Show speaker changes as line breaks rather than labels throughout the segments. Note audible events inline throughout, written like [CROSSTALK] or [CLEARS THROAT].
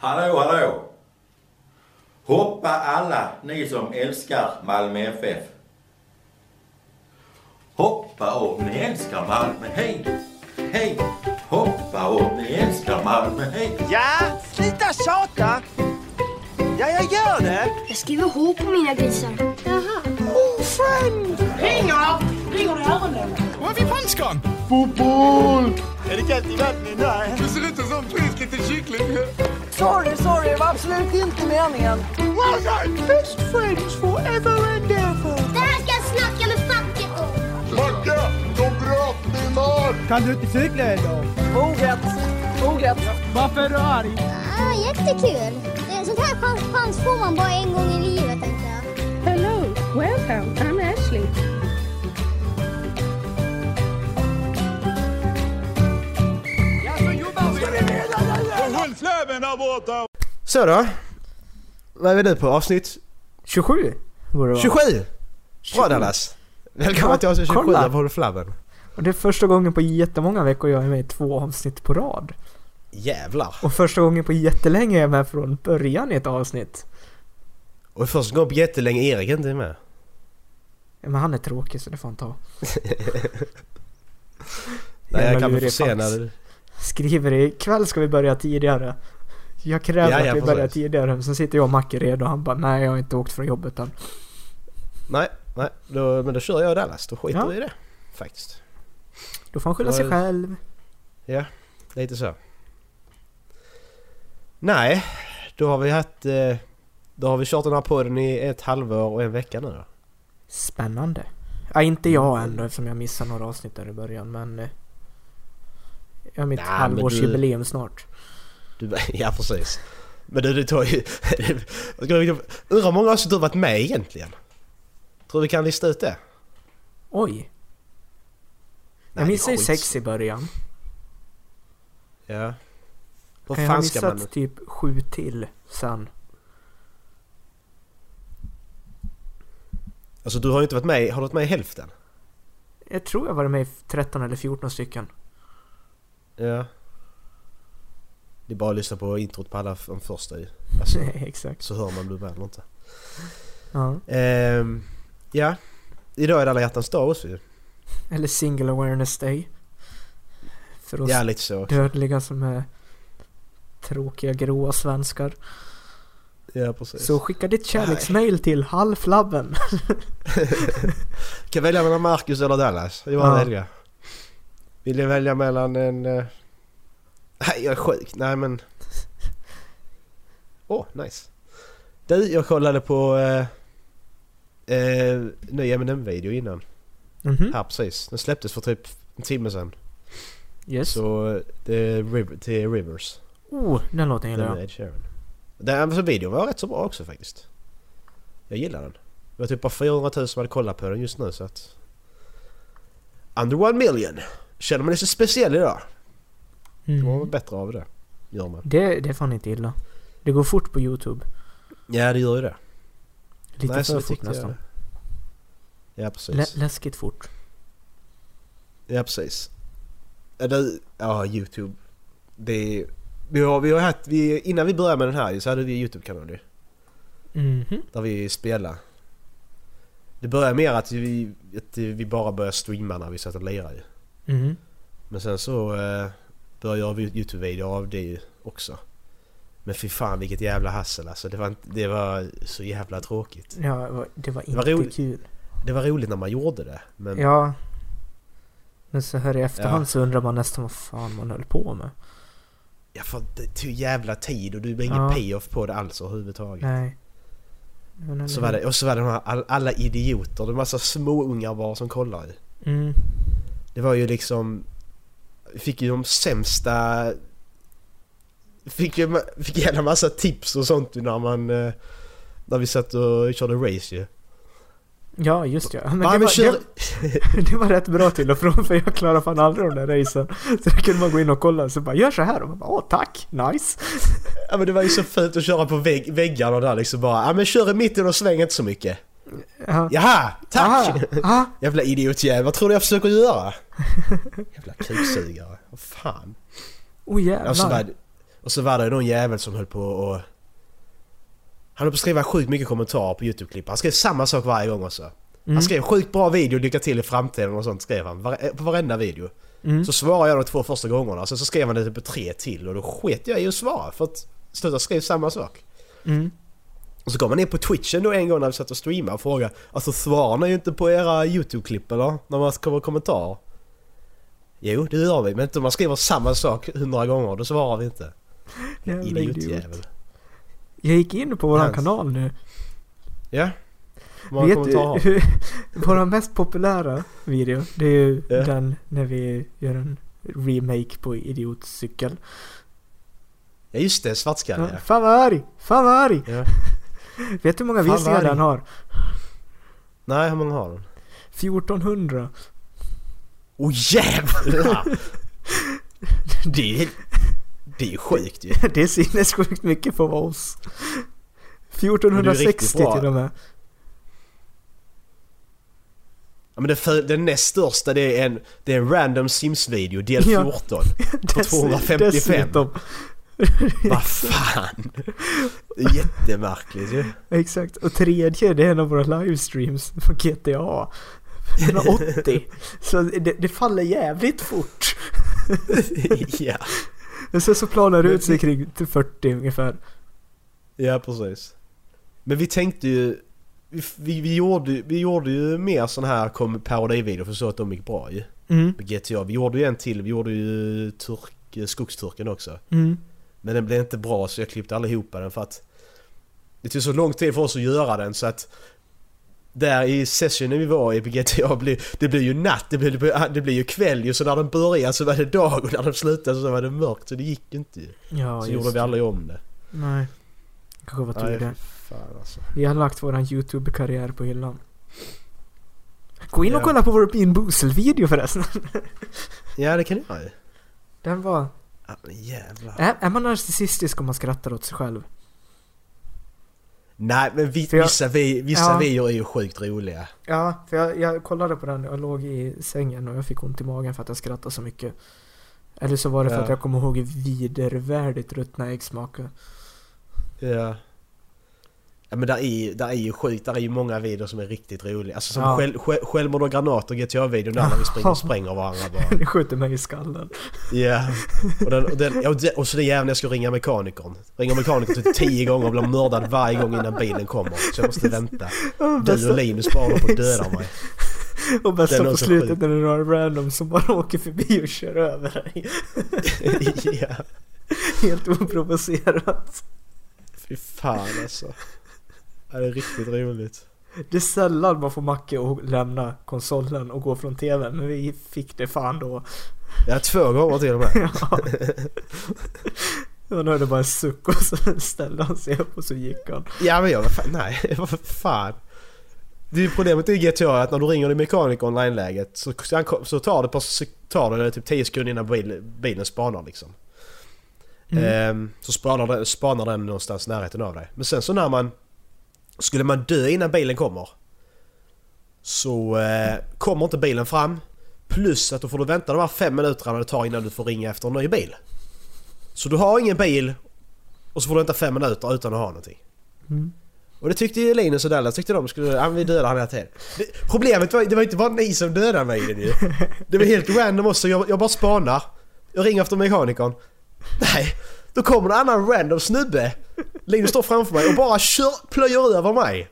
Hallå, hallå! Hoppa alla ni som älskar Malmö FF. Hoppa om ni älskar Malmö, hej! Hej! Hoppa om ni älskar Malmö, hej!
Ja, sluta tjata! Ja, jag gör det!
Jag skriver H på mina grisar.
Pengar! Ringer du ärenden?
Vad är vi punchkan?
Är det kallt i vattnet där?
Du ser ut som en frisk liten kyckling.
Sorry, sorry, det var absolut inte meningen. Well done! Best friends forever and ever!
Det här ska jag snacka med facket om.
Kan du inte cykla idag?
Orätt, orätt.
Varför är du arg?
Ah, jättekul. Det- Sånt här chans, chans får man bara en gång i livet, tänkte jag.
Hello, welcome. I'm Ashley.
Så då. Vad är vi nu på? Avsnitt
27 borde det vara.
27! Bra Dallas! Välkommen till avsnitt 27
Kolla.
av Håll Flabben.
Och det är första gången på jättemånga veckor jag är med i två avsnitt på rad.
Jävlar!
Och första gången på jättelänge jag är med från början i ett avsnitt.
Och första gången på jättelänge Erik inte är med.
Ja, Men han är tråkig så det får
[LAUGHS]
han ta.
Nej,
Jävla
jag kan väl få
lurig
se
fax.
när du...
Skriver ikväll ska vi börja tidigare. Jag
Ja,
kräver
ja,
att vi
precis.
börjar tidigare. Men sen sitter jag och Macke redo och han bara nej jag har inte åkt från jobbet än.
Nej, nej. Då, men då kör jag Dallas. Då skiter
Ja.
vi i det. Faktiskt.
Då får han skylla sig
Oj.
själv.
Lite så. Nej, då har vi haft... eh, Då har vi kört den här podden i ett halvår och en vecka nu då.
Spännande. Ja, inte
Mm.
jag ändå eftersom jag missade några avsnitt där i början men... eh, Jag har mitt
Nej, men du-
halvårsjubileum snart.
Du, [LAUGHS] ja, precis. Men du, det tar ju... [LAUGHS] Undrar hur många avsnitt du har varit med i egentligen? Tror du vi kan lista ut det?
Oj!
Nej,
jag missade ju
skit.
sex i början.
Ja. Hur
jag har
fan ska
missat
man...
typ sju till sen.
Alltså du har ju inte varit med i- Har du varit med i hälften?
Jag tror jag var med i 13 eller 14 stycken. [LAUGHS]
Ja. Det är bara att lyssna på introt på alla f- de första ju. Alltså,
Nej, exakt.
så hör man om du är med eller inte.
Ja.
Ehm, ja. Idag är det alla hjärtans dag också ju.
Eller single awareness day. För oss
Ja, lite så.
dödliga som är tråkiga gråa svenskar.
Ja, precis.
Så skicka ditt kärleksmail
[LAUGHS]
till halvflabben.
Kan välja mellan Marcus eller Dallas. Det var
Ja.
att välja. Vill jag välja mellan en... eh, Nej, jag är sjuk. Nej, men... Åh, oh, nice. Du, jag kollade på... Eh... Eh, ny M&M video innan.
Mhm.
Här precis. Den släpptes för typ en timme sedan.
Yes.
Så eh, det är River, till Rivers.
Oh, den låten
Den
gillar
med
jag.
Ed Sheeran. Den alltså, videon var rätt så bra också faktiskt. Jag gillar den. Det var typ bara 400 000 som hade kollat på den just nu så att... Under one million! Känner man sig speciell idag? Det var
Mm.
väl bättre av det. Gör man.
Det, det är fan inte illa. Det går fort på Youtube.
Ja det gör ju det.
Lite
Nej, så
för
det
fort
tyckte jag.
nästan.
Ja
Lä,
precis.
läskigt fort.
Ja precis. Ja, det, ja Youtube. Det... Vi har, vi har haft, vi, innan vi började med den här ju så hade vi Youtube-kanal ju.
Mhm.
Där vi spelar. Det började mer att vi, att vi bara började streama när vi satt och lirade ju.
Mhm.
Men sen så eh, började jag göra Youtube-videor av det ju också. Men fy fan vilket jävla hassel alltså. Det var, inte, det var så jävla tråkigt.
Ja, det var- det var
var
inte
roligt.
kul.
Det var roligt när man gjorde det. Men ja,
Ja. Men så här i efterhand så undrar man nästan vad fan man höll på med.
för det tog jävla tid och du blir ingen
Ja.
payoff på det alls överhuvudtaget.
Nej. Men eller-
Så var det, och så var det de här, all, alla idioter, det var massa småungar bara som kollade. ju.
Mm.
Det var ju liksom... vi Fick ju de sämsta... Fick ju ma- fick en jävla massa tips och sånt ju när man... eh, När vi satt och körde race ju.
Ja, just ja. Men det,
Men
var,
men kör...
det, [LAUGHS] det var rätt bra till och från för jag klarar fan aldrig de där racen. [LAUGHS] Så jag kunde man gå in och kolla så bara gör så här och man bara åh tack, nice.
Ja men det var ju så fint att köra på vägg, väggarna där liksom bara Ja men kör i mitten och sväng inte så mycket.
Ja.
Jaha! Tack!
Aha. Ah.
Jävla idiotjävel, vad tror du jag försöker göra? Jävla kuksugare, vad fan.
Oh
Och så, bara,
jävlar.
Och så var det någon jävel som höll på och... Han höll på att skriva sjukt mycket kommentarer på YouTube-klipp. Han skrev samma sak varje gång också. Han skrev sjukt bra video, lycka till i framtiden och sånt skrev han. Vare- På varenda video. Så svarade jag de två första gångerna, sen så skrev han det typ tre till och då sket jag i att svara för att sluta skrev samma sak. Och så kom han in på twitchen då en gång när vi satt och streamade och frågade Alltså svarar ni ju inte på era YouTube-klipp eller? När man kommer kommentarer? Jo, det gör vi, men inte om man skriver samma sak hundra gånger, då svarar vi inte.
Jävla idiot.
Idiotjävel.
Jag gick in på våran
Yes.
kanal nu.
Ja. Hur många
Vet
kommentarer
du,
har vi?
hur, [LAUGHS] vår mest populära video, det är ju
Ja.
den när vi gör en remake på idiotcykel.
Ja just det, svartskalle ja.
Ja, fan vad arg! Fan vad arg!
Ja.
[LAUGHS] Vet du hur många
Fan vad
visningar
arg.
den har?
Nej, hur många har den?
1400.
Åh oh, jävlar! det är... Det är sjukt ju.
[LAUGHS] Det är sinnessjukt mycket för oss.
Men det är ju
1460
riktigt bra.
till och med. [LAUGHS]
Ja, men det, för, den näst största det är en, det är en random Sims-video del
Ja.
14. På 255.
Dessutom.
Vad fan! Det är Jättemärkligt
[LAUGHS]
ju.
Exakt. Och tredje, det är en av våra livestreams från GTA. 180. Så det, det faller jävligt fort.
ja.
Och sen så planar det ut sig kring till 40 ungefär.
ja, precis. Men vi tänkte ju... Vi, vi, vi, gjorde, vi gjorde ju mer sån här kom- parodivideor för så att de gick bra ju.
Mm,
På GTA. Vi gjorde ju en till. Vi gjorde ju turk, eh, skogsturken också.
mm,
Men den blev inte bra så jag klippte allihopa den för att det tog så lång tid för oss att göra den så att där i sessionen vi var i på GTA, blev- det blev ju natt, det blev, det blev ju kväll ju så när den började så var det dag och när den slutade så var det mörkt så det gick ju inte ju.
ja
Så
just
gjorde vi
det.
aldrig om det.
Nej. Kanske var tur
Nej,
det.
fy fan alltså.
Vi har lagt våran YouTube-karriär på hyllan. Gå in och
Ja.
kolla på vår Bean Boozle-video förresten.
Ja det kan det vara ju.
Den var...
Ja, Ah, men Jävlar.
Är, är man narcissistisk om man skrattar åt sig själv?
Nej men vi,
För jag-
vissa, vi, vissa
Ja.
videor är ju sjukt roliga.
Ja, för jag, jag kollade på den och låg i sängen och jag fick ont i magen för att jag skrattade så mycket. Eller så var det för
Ja.
att jag kommer ihåg hur vidervärdigt ruttna ägg smakade.
Ja. Ja men där är, där är ju sjukt, där är ju många videor som är riktigt roliga. Alltså som
Ja.
själv, själv, självmord och granater GTA-videon där när vi
[LAUGHS]
springer, spränger varandra bara.
[LAUGHS] Det skjuter mig i skallen.
Ja. Och, den, och, den, och, det- och så det jävla jag ska ringa mekanikern. Ringer mekanikern typ tio gånger och blir mördad varje gång innan bilen kommer. Så jag måste vänta. Du och Linus bara håller på att döda
[LAUGHS]
mig. [LAUGHS]
Och bästa
Den är
på
så
slutet
sjuk.
när det är några random som bara [LAUGHS] åker förbi och kör över dig.
Ja.
Helt oprovocerat.
Fy fan alltså. Ja, det är riktigt roligt.
Det är sällan man får Macke att lämna konsolen och gå från TVn, men vi fick det fan då. [LAUGHS]
Ja två gånger till och med. [LAUGHS]
Ja. Han hörde bara en suck och så ställde han sig upp och så gick han.
Ja men jag var fan, nej [LAUGHS] vad fan. Det är ju problemet i GTA att när du ringer din mekaniker online-läget så, så han- så tar det, på, så tar det typ 10 sekunder innan bil, bilen spanar liksom.
Mm.
Ehm, så spanar den, spanar den någonstans i närheten av dig. Men sen så när man... Skulle man dö innan bilen kommer så eh, kommer inte bilen fram. Plus att då får du vänta de här fem minuterna det tar innan du får ringa efter en ny bil. Så du har ingen bil och så får du vänta fem minuter utan att ha någonting. Och det tyckte ju Linus och Dallas tyckte de skulle, ja men vi dödar han hela tiden. Det, problemet var det var inte bara ni som dödade mig i den ju. Det var helt random också, jag, jag bara spanar. Jag ringer efter mekanikern. Nej, då kommer en annan random snubbe. Linus står framför mig och bara kör, plöjer över mig.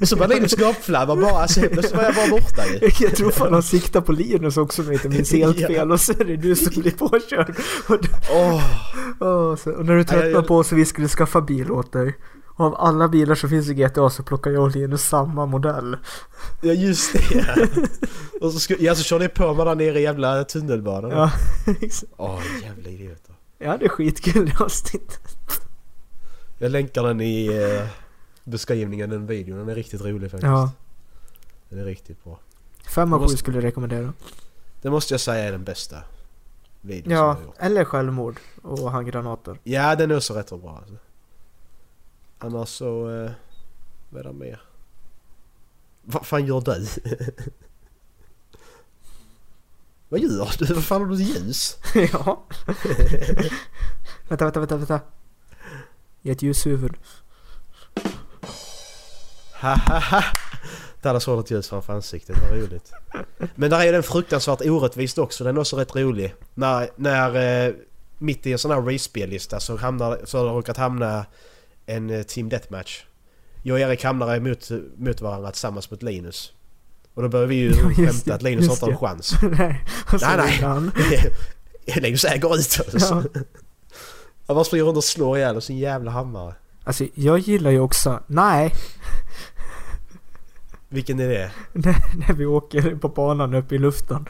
Och så var Linus gapflabba bara, så helt plötsligt var jag bara borta ju.
[LAUGHS] Jag tror fan han siktar på Linus också om jag inte minns
[LAUGHS]
helt
Ja.
fel och så är det du som blir påkörd. Och, du,
Åh,
Åh, så, och när du
Ja,
tröttnar
jag-
på oss och vi skulle skaffa bil åt dig. Och av alla bilar som finns i GTA så plockar jag och Linus samma modell.
ja just det ja. [LAUGHS] Och så, skulle, ja, så körde jag på mig där nere i jävla tunnelbanan. Åh
Ja, [LAUGHS] exakt.
jävla idioter.
ja det är skitkul i avsnittet.
Jag länkar den i eh, beskrivningen, den videon. Den är riktigt rolig faktiskt.
Ja,
Den är riktigt bra.
fem av
Måste-
sju skulle jag rekommendera.
Det måste jag säga är den bästa videon som jag
Ja,
har gjort.
eller självmord och handgranater.
Ja, den är också rätt så bra alltså. Annars så... Eh, vad är det mer? Vad fan gör du? [LAUGHS] Vad gör du? Vad fan har du ett ljus?
[LAUGHS]
[LAUGHS]
ja. vänta, vänta, vänta, vänta. I ett ljushuvud. [LAUGHS]
Hahaha! Där hade sådant ljus framför ansiktet, vad roligt. Men där är den fruktansvärt orättvist också, den är också rätt rolig. När, när eh, mitt i en sån här respellista så, hamnar, så har det råkat hamna en eh, Team Deathmatch. Jag och Erik hamnar emot, mot varandra tillsammans mot Linus. Och då börjar vi
[LAUGHS]
ju
just
skämta
det,
att Linus har
just
inte har en
det.
chans. [LAUGHS]
nej, och så
Nej, nej.
vinner han.
Linus äger ut oss.
Ja.
Han bara springer runt och slår ihjäl oss i en jävla hammare.
Alltså jag gillar ju också, nej, [LAUGHS]
Vilken är det?
när, när vi åker på banan upp i luften.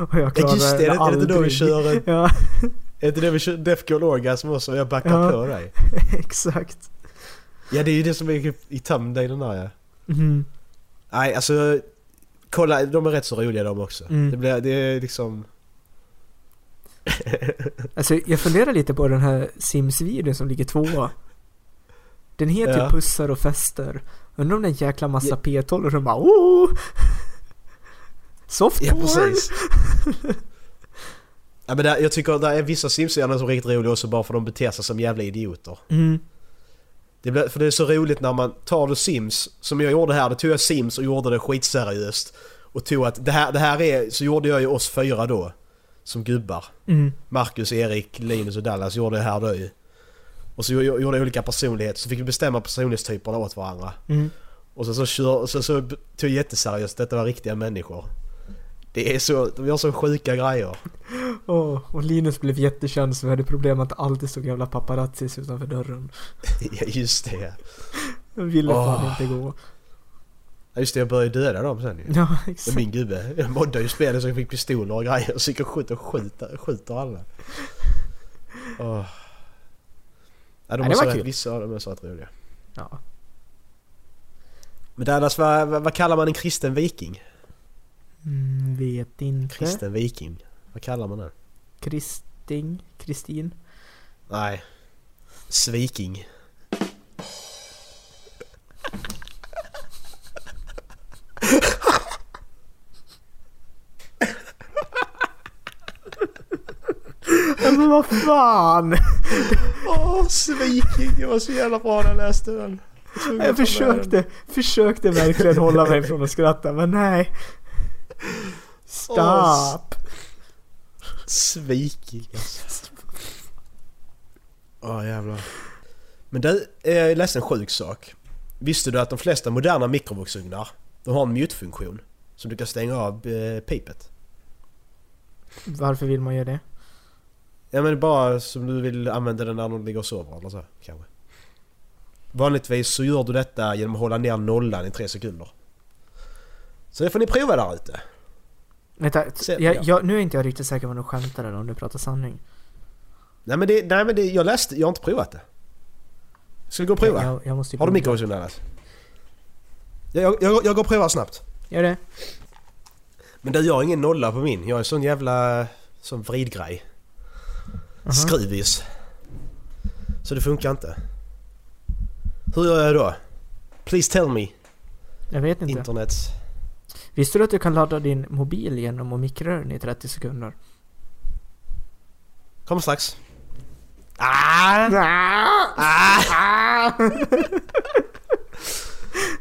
[LAUGHS] Och jag klarar
Ja just det, är det, är det inte då vi
aldrig.
kör... eh,
[LAUGHS] Ja,
Är det inte då vi kör Defcon Orgasm också och jag backar
Ja.
på dig?
exakt.
Ja det är ju det som är i Tumdalen där ja.
Mm.
Nej alltså, kolla de är rätt så roliga de också.
Mm.
Det, blir, det är liksom...
Alltså jag funderar lite på den här Sims-videon som ligger tvåa. Den heter
Ja.
Pussar och fester. Undrar om det är en jäkla massa p-tollor som bara [LAUGHS] oh! Soft
Ja
porn! [LAUGHS]
precis. ja, men där, jag tycker där är vissa sims som är riktigt roliga också bara för de beter sig som jävla idioter.
Mm.
Det blir, för det är så roligt när man tar det Sims, som jag gjorde här, då tog jag Sims och gjorde det skitseriöst. Och tog att det här, det här är, så gjorde jag ju oss fyra då. Som gubbar.
Mm.
Marcus, Erik, Linus och Dallas gjorde det här då ju. Och så gjo- gjorde jag olika personligheter, så fick vi bestämma personlighetstyperna åt varandra.
Mm.
Och så, så, kör, så, så tog jag jätteseriöst, detta var riktiga människor. Det är så, de gör så sjuka grejer. [LAUGHS]
Åh, och Linus blev jättekänd så vi hade problem att det alltid stod jävla paparazzis utanför dörren.
Ja, Just det.
Jag ville fan
Åh.
inte gå. [LAUGHS]
Ja, Just det, jag började döda dem sen ju.
Ja,
Men
exakt.
min gubbe, jag moddade ju spelet så jag fick pistoler och grejer så gick jag och sköt och skjuter, skjuter alla. Åh. Ja, de
Ja,
ja,
det var
var
kul.
Vissa av dem är så rätt roliga.
Ja.
Men Dallas, vad, vad, vad kallar man en kristen viking?
Mm, vet inte.
Kristen viking? Vad kallar man den?
Kristing? Kristin?
Nej. Sviking.
[LAUGHS] Men vad [LAUGHS] fan!
Åh, sviking! Det var så jävla bra när jag läste den.
Jag försökte, försökte verkligen hålla mig från att skratta men nej.
Åh,
Stopp!
Sviking alltså. Åh jävlar. Men du, eh, jag läste en sjuk sak. Visste du att de flesta moderna mikrovågsugnar, de har en mute-funktion? Som du kan stänga av eh, pipet.
Varför vill man göra det?
Ja men bara som du vill använda den när du ligger och sover eller så kanske. Vanligtvis så gör du detta genom att hålla ner nollan i tre sekunder. Så det får ni prova där ute.
Vänta,
Se- ja.
jag, jag, nu är inte jag riktigt säker på om du skämtar eller om du pratar sanning.
Nej men det, nej men det, jag läste, jag har inte provat det. Ska vi gå och prova?
Jag, jag måste ju
Har du
googla.
mikrovågsugn annars? Jag, jag, jag går och provar snabbt.
Gör det?
Men du, jag har ingen nolla på min. Jag är sån jävla... Sån vridgrej. Skruvis. Så det funkar inte. Hur gör jag då? Please tell me,
Jag vet inte.
internet.
Visste du att du kan ladda din mobil genom att mikra den i 30 sekunder?
Kom strax. Ah! Ah! [LAUGHS]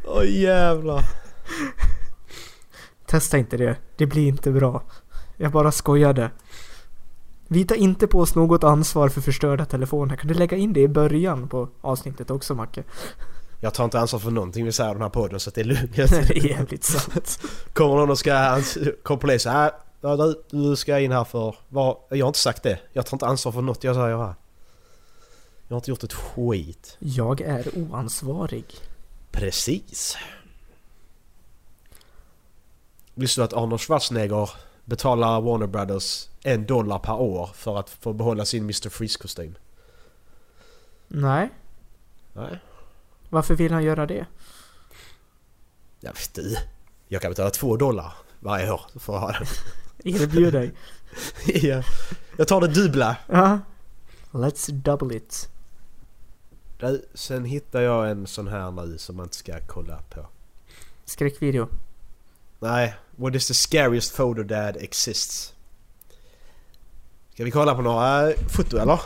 Åh jävlar.
Testa inte det. Det blir inte bra. Jag bara skojade. Vi tar inte på oss något ansvar för förstörda telefoner. Kan du lägga in det i början på avsnittet också, Macke?
Jag tar inte ansvar för någonting vi säger i den här podden så att det är
Nej,
lugnt.
[LAUGHS] det är [LAUGHS] jävligt sant.
Kommer någon och ska... Kommer polisen. Äh, ja, du, du ska in här för... Var, jag har inte sagt det. Jag tar inte ansvar för något jag säger här. Jag har inte gjort ett skit.
Jag är oansvarig.
Precis. Visste du att Arnold Schwarzenegger betalar Warner Brothers en dollar per år för att få behålla sin Mr. Freeze-kostym?
Nej,
Nej.
varför vill han göra det?
Jag vet du. Jag kan betala två dollar varje år för att ha den.
Erbjud dig.
Ja. jag tar det dubbla.
[LAUGHS] Ja. Let's double it.
Du, Sen hittar jag en sån här nu som man inte ska kolla på.
Skräckvideo.
Nej, what is the scariest photo that exists? Ska vi kolla på några foto
[LAUGHS]
eller?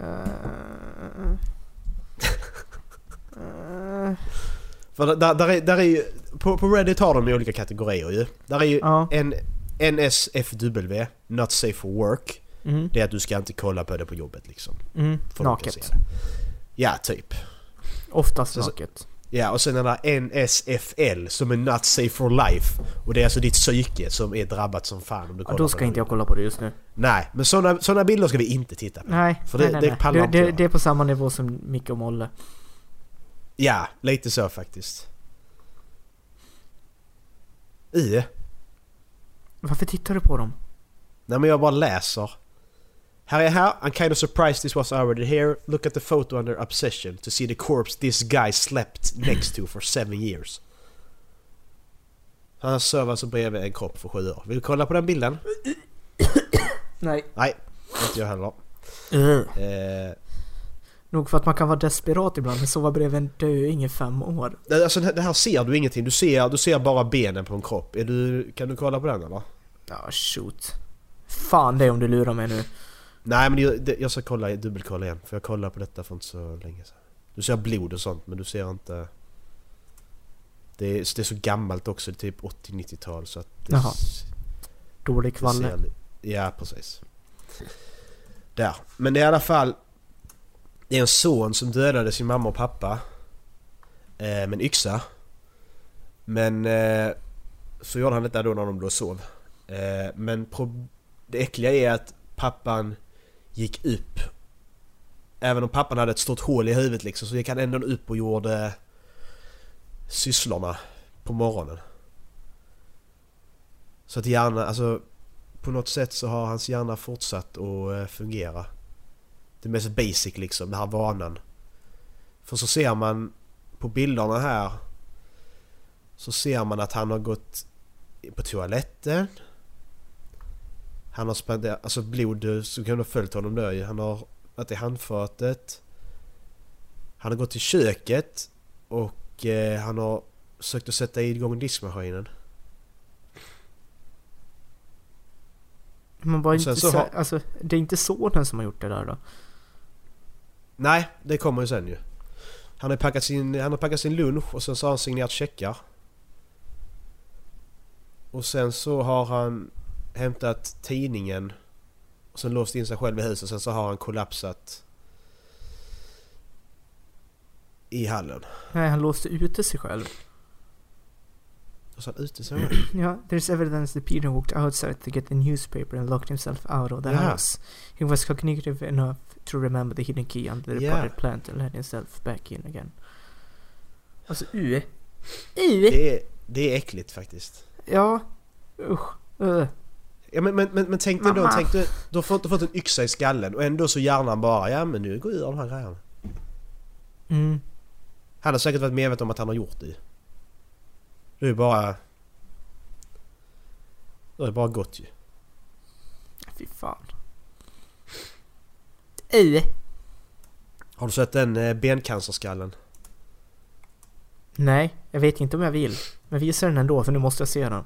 Eh, eh,
För där, där, är, där är ju... På, på Reddit har de ju olika kategorier ju. Där är ju
Ja.
N, NSFW, Not Safe for Work.
mm,
Det är att du ska inte kolla på det på jobbet liksom.
mm,
Folk kan se
naket.
det. Ja, typ.
Oftast
Så- så-
naket.
Ja, och sen den där NSFL som är Not Safe for Life. Och det är alltså ditt psyke som är drabbat som fan om du
Ja,
kollar
då
på
ska
det.
inte jag kolla på det just nu.
Nej, men såna, såna bilder ska vi inte titta på.
Nej,
För det-
nej, nej,
det
nej.
pallar inte
det, det,
jag.
det är på samma nivå som Micke och Molle.
Ja, lite så faktiskt. I?
Varför tittar du på dem?
Nej men jag bara läser. Här är här. I'm kind of surprised this was already here. Look at the photo under obsession to see the corpse this guy slept next to for seven years. Han sov alltså bredvid en kropp för sju år. Vill du kolla på den bilden?
Nej.
Nej, inte jag heller. Eh,
Nog för att man kan vara desperat ibland, men sova bredvid en döing i fem år.
nej, alltså det här ser du ingenting. Du ser, du ser bara benen på en kropp. Är du, kan du kolla på den eller?
Ja, shoot. Fan det är om du lurar mig nu.
Nej men jag, det- jag ska kolla, dubbelkolla igen. För jag kollade på detta för inte så länge sedan. Du ser blod och sånt men du ser inte... Det är, det är så gammalt också, det är typ 80-90-tal så att... Det
Jaha,
s-
Dålig
det
kvalle.
ser li- Ja precis. Där. Men det är i alla fall... Det är en son som dödade sin mamma och pappa. Eh, med en yxa. Men... Eh, så gjorde han detta då när de då sov. Eh, men pro- det äckliga är att pappan gick upp. Även om pappan hade ett stort hål i huvudet liksom så gick han ändå upp och gjorde sysslorna på morgonen. Så att hjärnan, alltså på något sätt så har hans hjärna fortsatt att eh, fungera. Det mest basic liksom, den här vanan. För så ser man på bilderna här så ser man att han har gått på toaletten. Han har spenderat, alltså blod så kan du ha följt honom där ju. Han har varit i handfatet. Han har gått till köket och eh, han har sökt att sätta igång diskmaskinen.
Man bara
Och sen
inte
så
så,
har-
alltså, det är inte sonen som har gjort det där då.
Nej, det kommer ju sen ju. Han har packat sin, han har packat sin lunch och sen så har han signerat checkar. Och sen så har han hämtat tidningen och sen låst in sig själv i huset och sen så har han kollapsat i hallen.
Nej, han låste ute sig själv. [CLEARS THROAT]
Och sen ute så här.
Ja, there's evidence that Peter walked outside to get the newspaper and locked himself out of the
Ja.
house. He was cognitive enough to remember the hidden key under the
Ja.
potted plant and let himself back in again. Alltså U. U!
Det är, det är äckligt faktiskt.
Ja. Usch. Uh.
Ja, men, men, men, men tänk dig då,
Mamma.
tänk dig, du har fått, du har fått en yxa i skallen och ändå så hjärnan bara ja men nu går jag ur de här grejerna.
Mm.
Han har säkert varit medveten om att han har gjort det. Det är bara... Det är bara gott ju.
Fy fan. U.
Har du sett den eh, bencancerskallen?
Nej, jag vet inte om jag vill. Men visa den ändå för nu måste jag se den.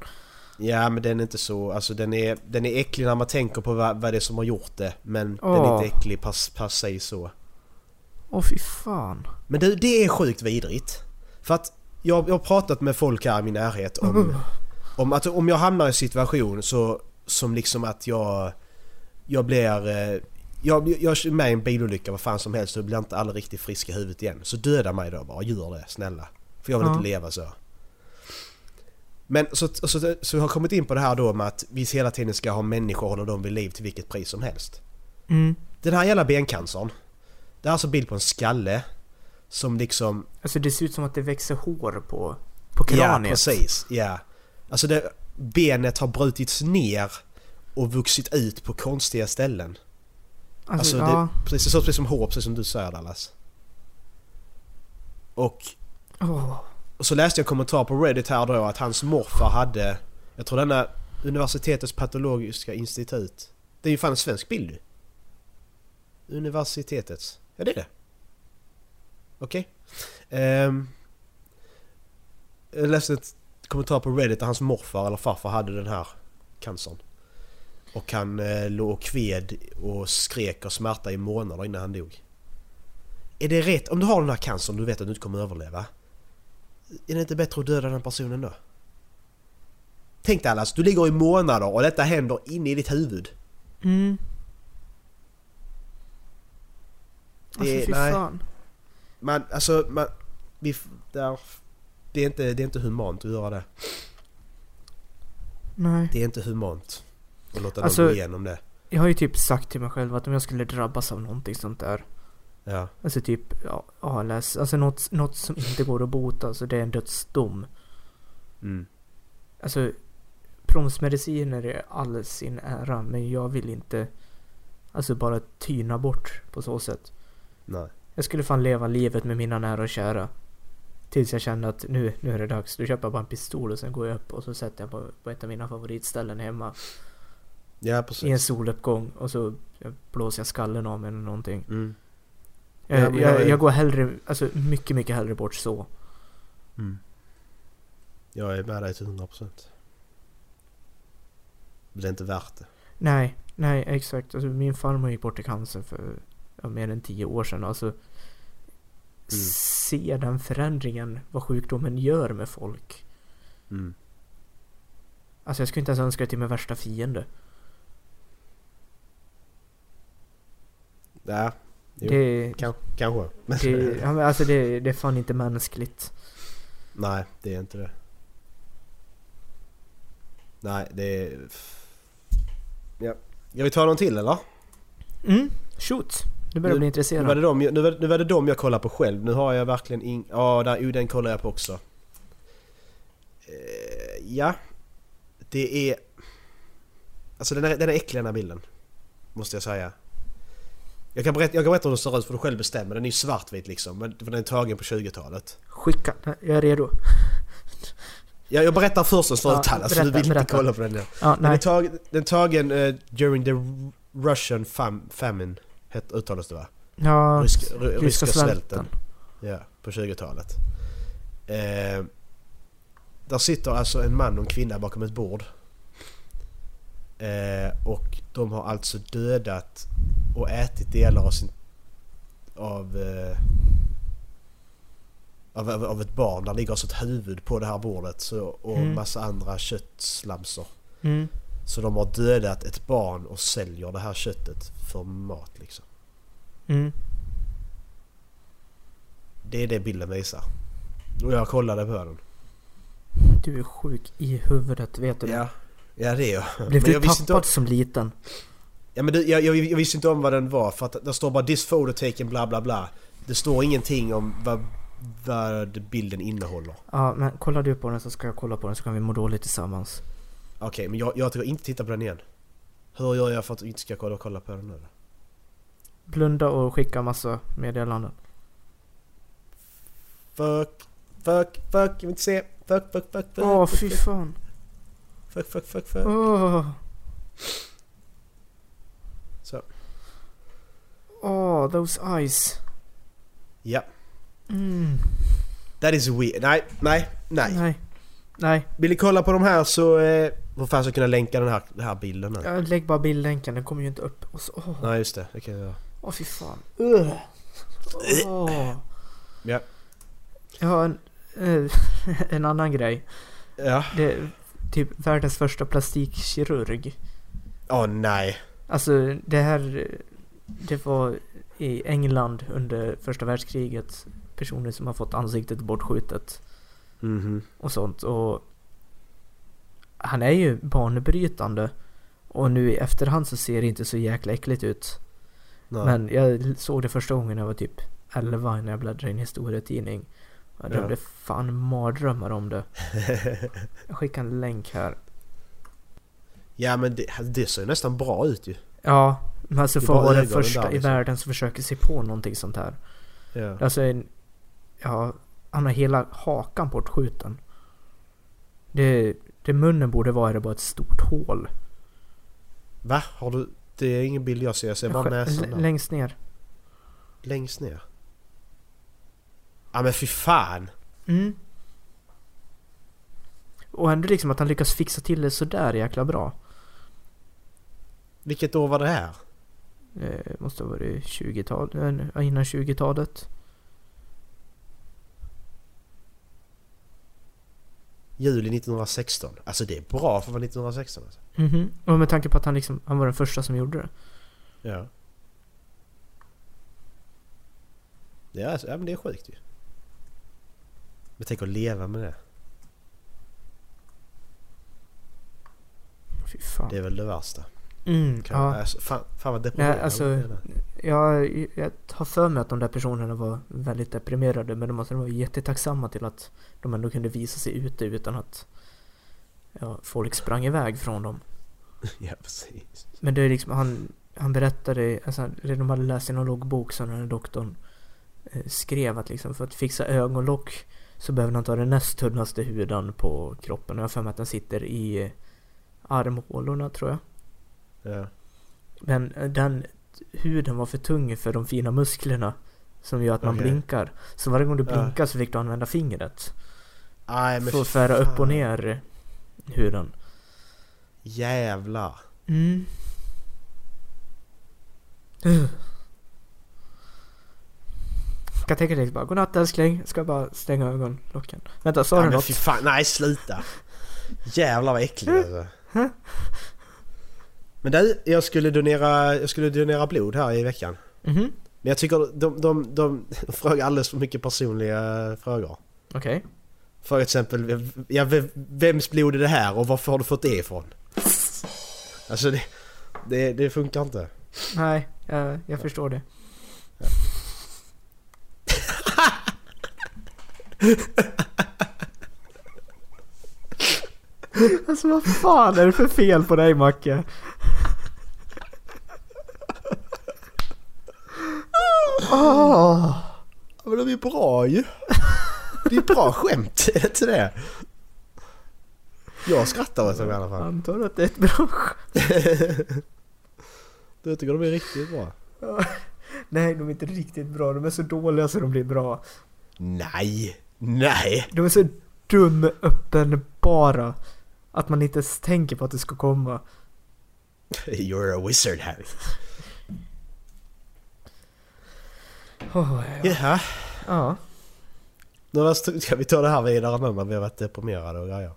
Ja men den är inte så, alltså den är, den är äcklig när man tänker på vad, vad det är som har gjort det. Men den är
Åh.
inte äcklig per, per sig så.
Åh fy fan.
Men du, det är sjukt vidrigt. För att jag, jag har pratat med folk här i min närhet om, om att om jag hamnar i en situation så, som liksom att jag, jag blir... eh, Jag, jag är med i en bilolycka, vad fan som helst, och blir inte aldrig riktigt frisk i huvudet igen. Så döda mig då bara, gör det snälla. För jag vill
Ja.
inte leva så. Men så, så, så, så jag har kommit in på det här då med att vi hela tiden ska ha människor och hålla dem vid liv till vilket pris som helst.
Mm.
Den här jävla bencancern. Det är alltså bild på en skalle. Som liksom...
Alltså det ser ut som att det växer hår på, på
Ja,
kraniet.
precis. Ja. Alltså det, benet har brutits ner och vuxit ut på konstiga ställen. Alltså,
Alltså,
det,
ja.
precis, det ser ut precis som hår, precis som du säger Dallas. Och
Åh.
Och så läste jag en kommentar på Reddit här då att hans morfar hade, jag tror denna universitetets patologiska institut. Det är ju fan en svensk bild ju. Universitetets. Ja det är det. Okej. Ehm, jag läste ett kommentar på Reddit där hans morfar eller farfar hade den här cancern. Och han eh, låg och kved och skrek och smärta i månader innan han dog. Är det rätt? Om du har den här cancern du vet att du inte kommer överleva. Är det inte bättre att döda den personen då? Tänk dig Allas, du ligger i månader och detta händer inne i ditt huvud.
Mm.
Det-
Alltså fy
nej.
fan.
Man, alltså, man, vi, f- där, det, är inte, det är inte humant att göra det.
Nej.
Det är inte humant att låta
Alltså-
någon gå igenom det.
Jag har ju typ sagt till mig själv att om jag skulle drabbas av någonting sånt där.
Ja,
Alltså typ ja, ALS. Alltså något, något som inte går att bota. Alltså det är en dödsdom.
mm.
Alltså promsmediciner är all sin ära. Men jag vill inte alltså bara tyna bort på så sätt.
nej.
Jag skulle fan leva livet med mina nära och kära. Tills jag kände att nu, nu är det dags. Då köper jag bara en pistol och sen går jag upp och så sätter jag på, på ett av mina favoritställen hemma.
Ja, precis.
I en soluppgång och så blåser jag skallen av mig eller någonting.
Mm.
Jag,
Ja, men jag är-
jag, jag går hellre, alltså mycket, mycket hellre bort så.
Jag är med dig till 100%. Men det är inte värt det.
Nej, nej exakt. Alltså, min farmor gick bort i cancer för ja, mer än tio år sedan. Alltså,
Mm.
Se den förändringen, vad sjukdomen gör med folk.
Mm.
Alltså jag skulle inte ens önska det till min värsta fiende.
Ja, Jo.
det,
kan, kanske. Men,
det, ja, men alltså det, det är fan inte mänskligt.
nej, det är inte det. Nej, det är... Ja. Jag vill ta någon till eller?
Mm, shoot. Nu börjar
Nu
jag bli
var,
intresserad.
det de, nu, var, nu var det de jag kollade på själv. Nu har jag verkligen ing... Ja, där, jo, den kollar jag på också. Eh, ja. Det är... Alltså den är, den är äcklig den här bilden. Måste jag säga. Jag kan berätta, jag kan berätta hur den ser ut för du själv bestämmer. Den är ju svartvit liksom. Men för den är tagen på 20-talet.
Skicka, Nej, jag är redo.
Jag, jag berättar först hur den ser
Ja,
ut Dallas, för du
berätta,
vill inte
berätta.
kolla på den. Ja.
Ja,
Den är
nej.
tagen, den är tagen eh, during the Russian fam, famine. het- Uttalas det va?
Ja,
Rysk- ry- ryska,
ryska
svälten.
svälten.
Ja, på 20-talet. Eh, där sitter alltså en man och en kvinna bakom ett bord. Eh, och de har alltså dödat och ätit delar av sin... Av, eh, av, av, av ett barn. Där ligger alltså ett huvud på det här bordet. Så, och
Mm.
massa andra köttslamsor.
Mm.
Så de har dödat ett barn och säljer det här köttet för mat liksom.
Mm.
Det är det bilden visar. Och jag kollade på den.
Du är sjuk i huvudet, vet du det?
Ja, ja det är jag. men
Blev du
jag visste,
tappad
inte om,
som liten?
ja, men det, jag, jag, jag visste inte om vad den var för att det står bara this photo taken bla bla bla. Det står ingenting om vad, vad bilden innehåller.
Ja, men kolla du på den så ska jag kolla på den så kan vi må dåligt tillsammans.
Okej, men jag, jag tänker inte titta på den igen. Hur gör jag för att inte ska kolla, kolla på den nu då?
Blunda och skicka massa meddelanden.
Fuck, fuck, fuck, jag vill inte se. Fuck, fuck, fuck, fuck.
Åh,
fuck,
fy Mm.
fuck,
fan.
fuck, fuck, fuck, fuck.
Åh.
Så.
Åh, those eyes.
Ja,
Mm.
that is weird. Nej, nej, nej.
Nej. Nej,
Vill ni kolla på de här så... Eh, vad fan ska jag kunna länka den här, den här bilden nu?
jag lägg bara bildlänken, den kommer ju inte upp. Och så, åh,
Nej, just det. Det kan jag göra.
åh fy fan. Ugh. Åh.
Ja.
Jag har en, eh, [LAUGHS] en annan grej.
Ja.
Det är typ världens första plastikkirurg.
Åh nej.
Alltså det här, det var i England under första världskriget. Personer som har fått ansiktet bortskjutet
Mhm.
och sånt. Och han är ju banbrytande. Och nu i efterhand så ser det inte så jäkla äckligt ut.
Nej.
Men jag såg det första gången jag var typ 11 när jag bläddrade i en historietidning. Jag
Ja.
drömde fan mardrömmar
[LAUGHS]
om det. Jag skickar en länk här.
ja men det, det ser ju nästan bra ut ju.
Ja, men alltså
Det är
för
bara
att vara den
ögonen
första
där,
i
liksom.
världen som försöker se på någonting sånt här.
Ja.
Alltså en, ja, han har hela hakan bortskjuten. Det, det munnen borde vara är det bara ett stort hål.
Va? Har du... Det är ingen bild jag ser. Jag ser bara
Skär-
näsan
l-
där.
längst ner.
Längst ner. Ja men fy fan.
Mm. Och ändå liksom att han lyckas fixa till det sådär jäkla bra.
Vilket år var det här?
Eh, måste ha varit 20-talet, eh, nu- innan 20-talet.
Juli 1916. Alltså det är bra för att vara 1916 alltså.
Mhm. Och med tanke på att han liksom, han var den första som gjorde det.
Ja. Det är, alltså- ja men det är sjukt ju. Men tänk att leva med det.
Fy fan.
Det är väl det värsta.
Mm,
Kan,
ja.
alltså, fan, fan vad deprimerande.
Nej, alltså-
det är.
Jag, jag har för mig att de där personerna var väldigt deprimerade men de måste vara jättetacksamma till att de ändå kunde visa sig ute utan att ja, folk sprang iväg från dem.
[LAUGHS] Ja precis.
Men det är liksom, han, han berättade, alltså han- det de hade läst i någon loggbok som den här doktorn eh, skrev att liksom för att fixa ögonlock så behöver han ta den näst tunnaste hudan på kroppen. Jag har för mig att den sitter i eh, armhålorna tror jag.
Ja.
Men eh, den huden var för tung för de fina musklerna som gör att man
Okej.
blinkar. Så varje gång du
Ja.
blinkar så fick du använda fingret.
Aj, men
För att
fy
skära upp och
fan.
ner huden.
Jävlar.
Mm. Kan tänka dig bara, godnatt älskling, ska jag bara stänga ögonlocken. Vänta, sa
Ja,
du
men
något?
fy fan. Nej sluta. Jävlar vad äckligt alltså. Men du, jag skulle donera, jag skulle donera blod här i veckan.
Mhm,
Men jag tycker de, de, de frågar alldeles för mycket personliga frågor.
okej.
För exempel, ja, ve- vems blod är det här och varför har du fått det ifrån? Alltså det, det, det funkar inte.
Nej, jag, jag
[LAUGHS]
förstår det. alltså vad fan är det för fel på dig Macke?
Ah, Men de är bra ju! Det är bra skämt, är det inte det? Jag skrattar åt dem i alla fall.
Antar att det är ett bra skämt?
Jag tycker de är riktigt bra.
Nej, de är inte riktigt bra. De är så dåliga så de blir bra.
Nej! Nej!
De är så dumöppenbara att man inte ens tänker på att det ska komma.
You're a wizard Harry.
Oh, ja.
Jaha.
ja.
Några st- Ska vi ta det här vidare nu när vi har varit deprimerade och grejer?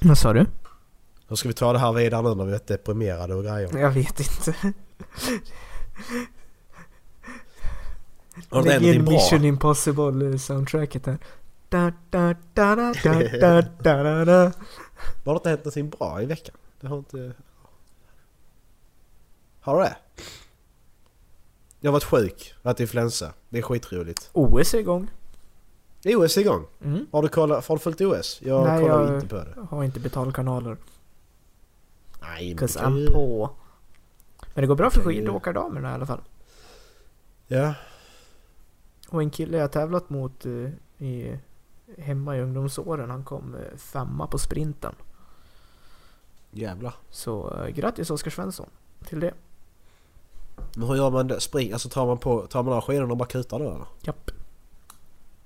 Vad sa du?
Hur ska vi ta det här vidare nu när vi har varit deprimerade och grejer?
Jag vet inte.
Har du
Lägg
någonting
in
bra?
Mission Impossible eh, soundtracket här. Da, da, da, da, da, da, da, da, da.
Har det inte hänt någonting bra i veckan? Det har inte... Har du det? Jag har varit sjuk, varit influensa. Det är skitroligt.
OS är igång.
OS är igång.
Mm.
Har du, kollat, har du följt OS? Jag
Nej,
kollar
jag-
inte på det.
Jag har inte betalkanaler.
Nej, men det
'Cause
kan
I'm
ju...
på. Men det går bra för
Kan ju-
skidåkardamerna i alla fall.
Ja.
Och en kille jag tävlat mot eh, i, hemma i ungdomsåren, han kom eh, femma på sprinten.
Jävlar.
Så eh, grattis Oskar Svensson till det.
Men hur gör man det? Spring? Alltså tar man, på, tar man av skidorna och bara kutar då
[LAUGHS]
eller?
Japp.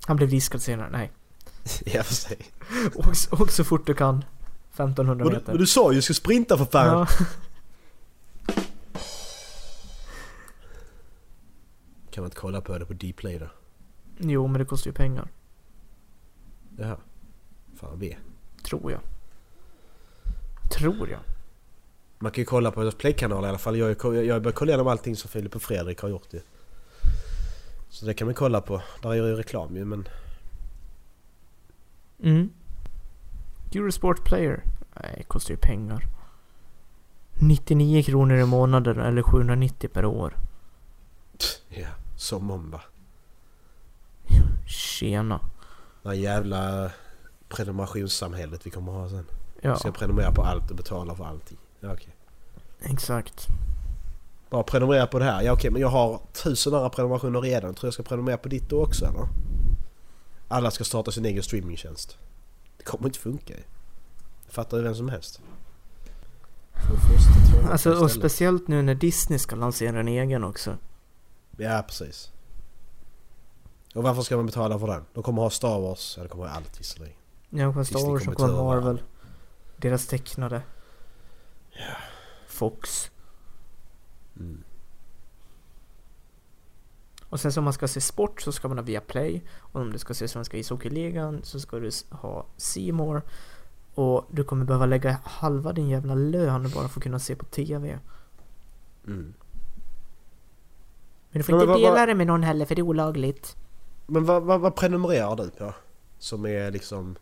Han blev diskad senare, nej.
ja, för sig.
Åk, så- åk så fort du kan. 1500
Men du, men
meter.
du sa ju du ska sprinta för fan!
Ja.
Kan man inte kolla på det på Dplay då?
Jo, men det kostar ju pengar.
Jaha. Fan vad vi är.
Tror jag. Tror jag.
Man kan ju kolla på deras playkanal i alla fall. Jag, har ju- jag börjar kolla igenom allting som Filip och Fredrik har gjort ju. Så det kan man kolla på. Där är ju reklam ju men...
Mm. Eurosport Player. Nej, det kostar ju pengar. 99 kronor i månaden eller 790 per år.
Ja, som om va.
Tjena.
Det här jävla prenumerationssamhället vi kommer ha sen.
Ja,
Ska jag prenumerera på allt och betala för allting. Ja, okej.
exakt.
Bara prenumerera på det här. Ja okej men jag har tusen andra prenumerationer redan. Tror jag ska prenumerera på ditt då också eller? Alla ska starta sin egen streamingtjänst. Det kommer inte funka ju. Det Fattar ju vem som helst. Får första tråden
Alltså, och
istället.
speciellt nu när Disney ska lansera en egen också.
Ja, precis. Och varför ska man betala för den? De kommer ha Star Wars, ja det kommer ha allt visserligen.
Ja, och Star
Disney
Wars
kommer
och
ta över
Marvel. Deras tecknade. Fox.
Mm.
Och sen så om man ska se sport så ska man ha Viaplay. Och om du ska se Svenska ishockeyligan så ska du s- ha C More. Och du kommer behöva lägga halva din jävla lön bara för att kunna se på TV. Men du får
Mm. Men
inte
vad-
dela
vad-
det med någon heller för det är olagligt.
Men vad, vad, vad prenumererar du på? Som är liksom...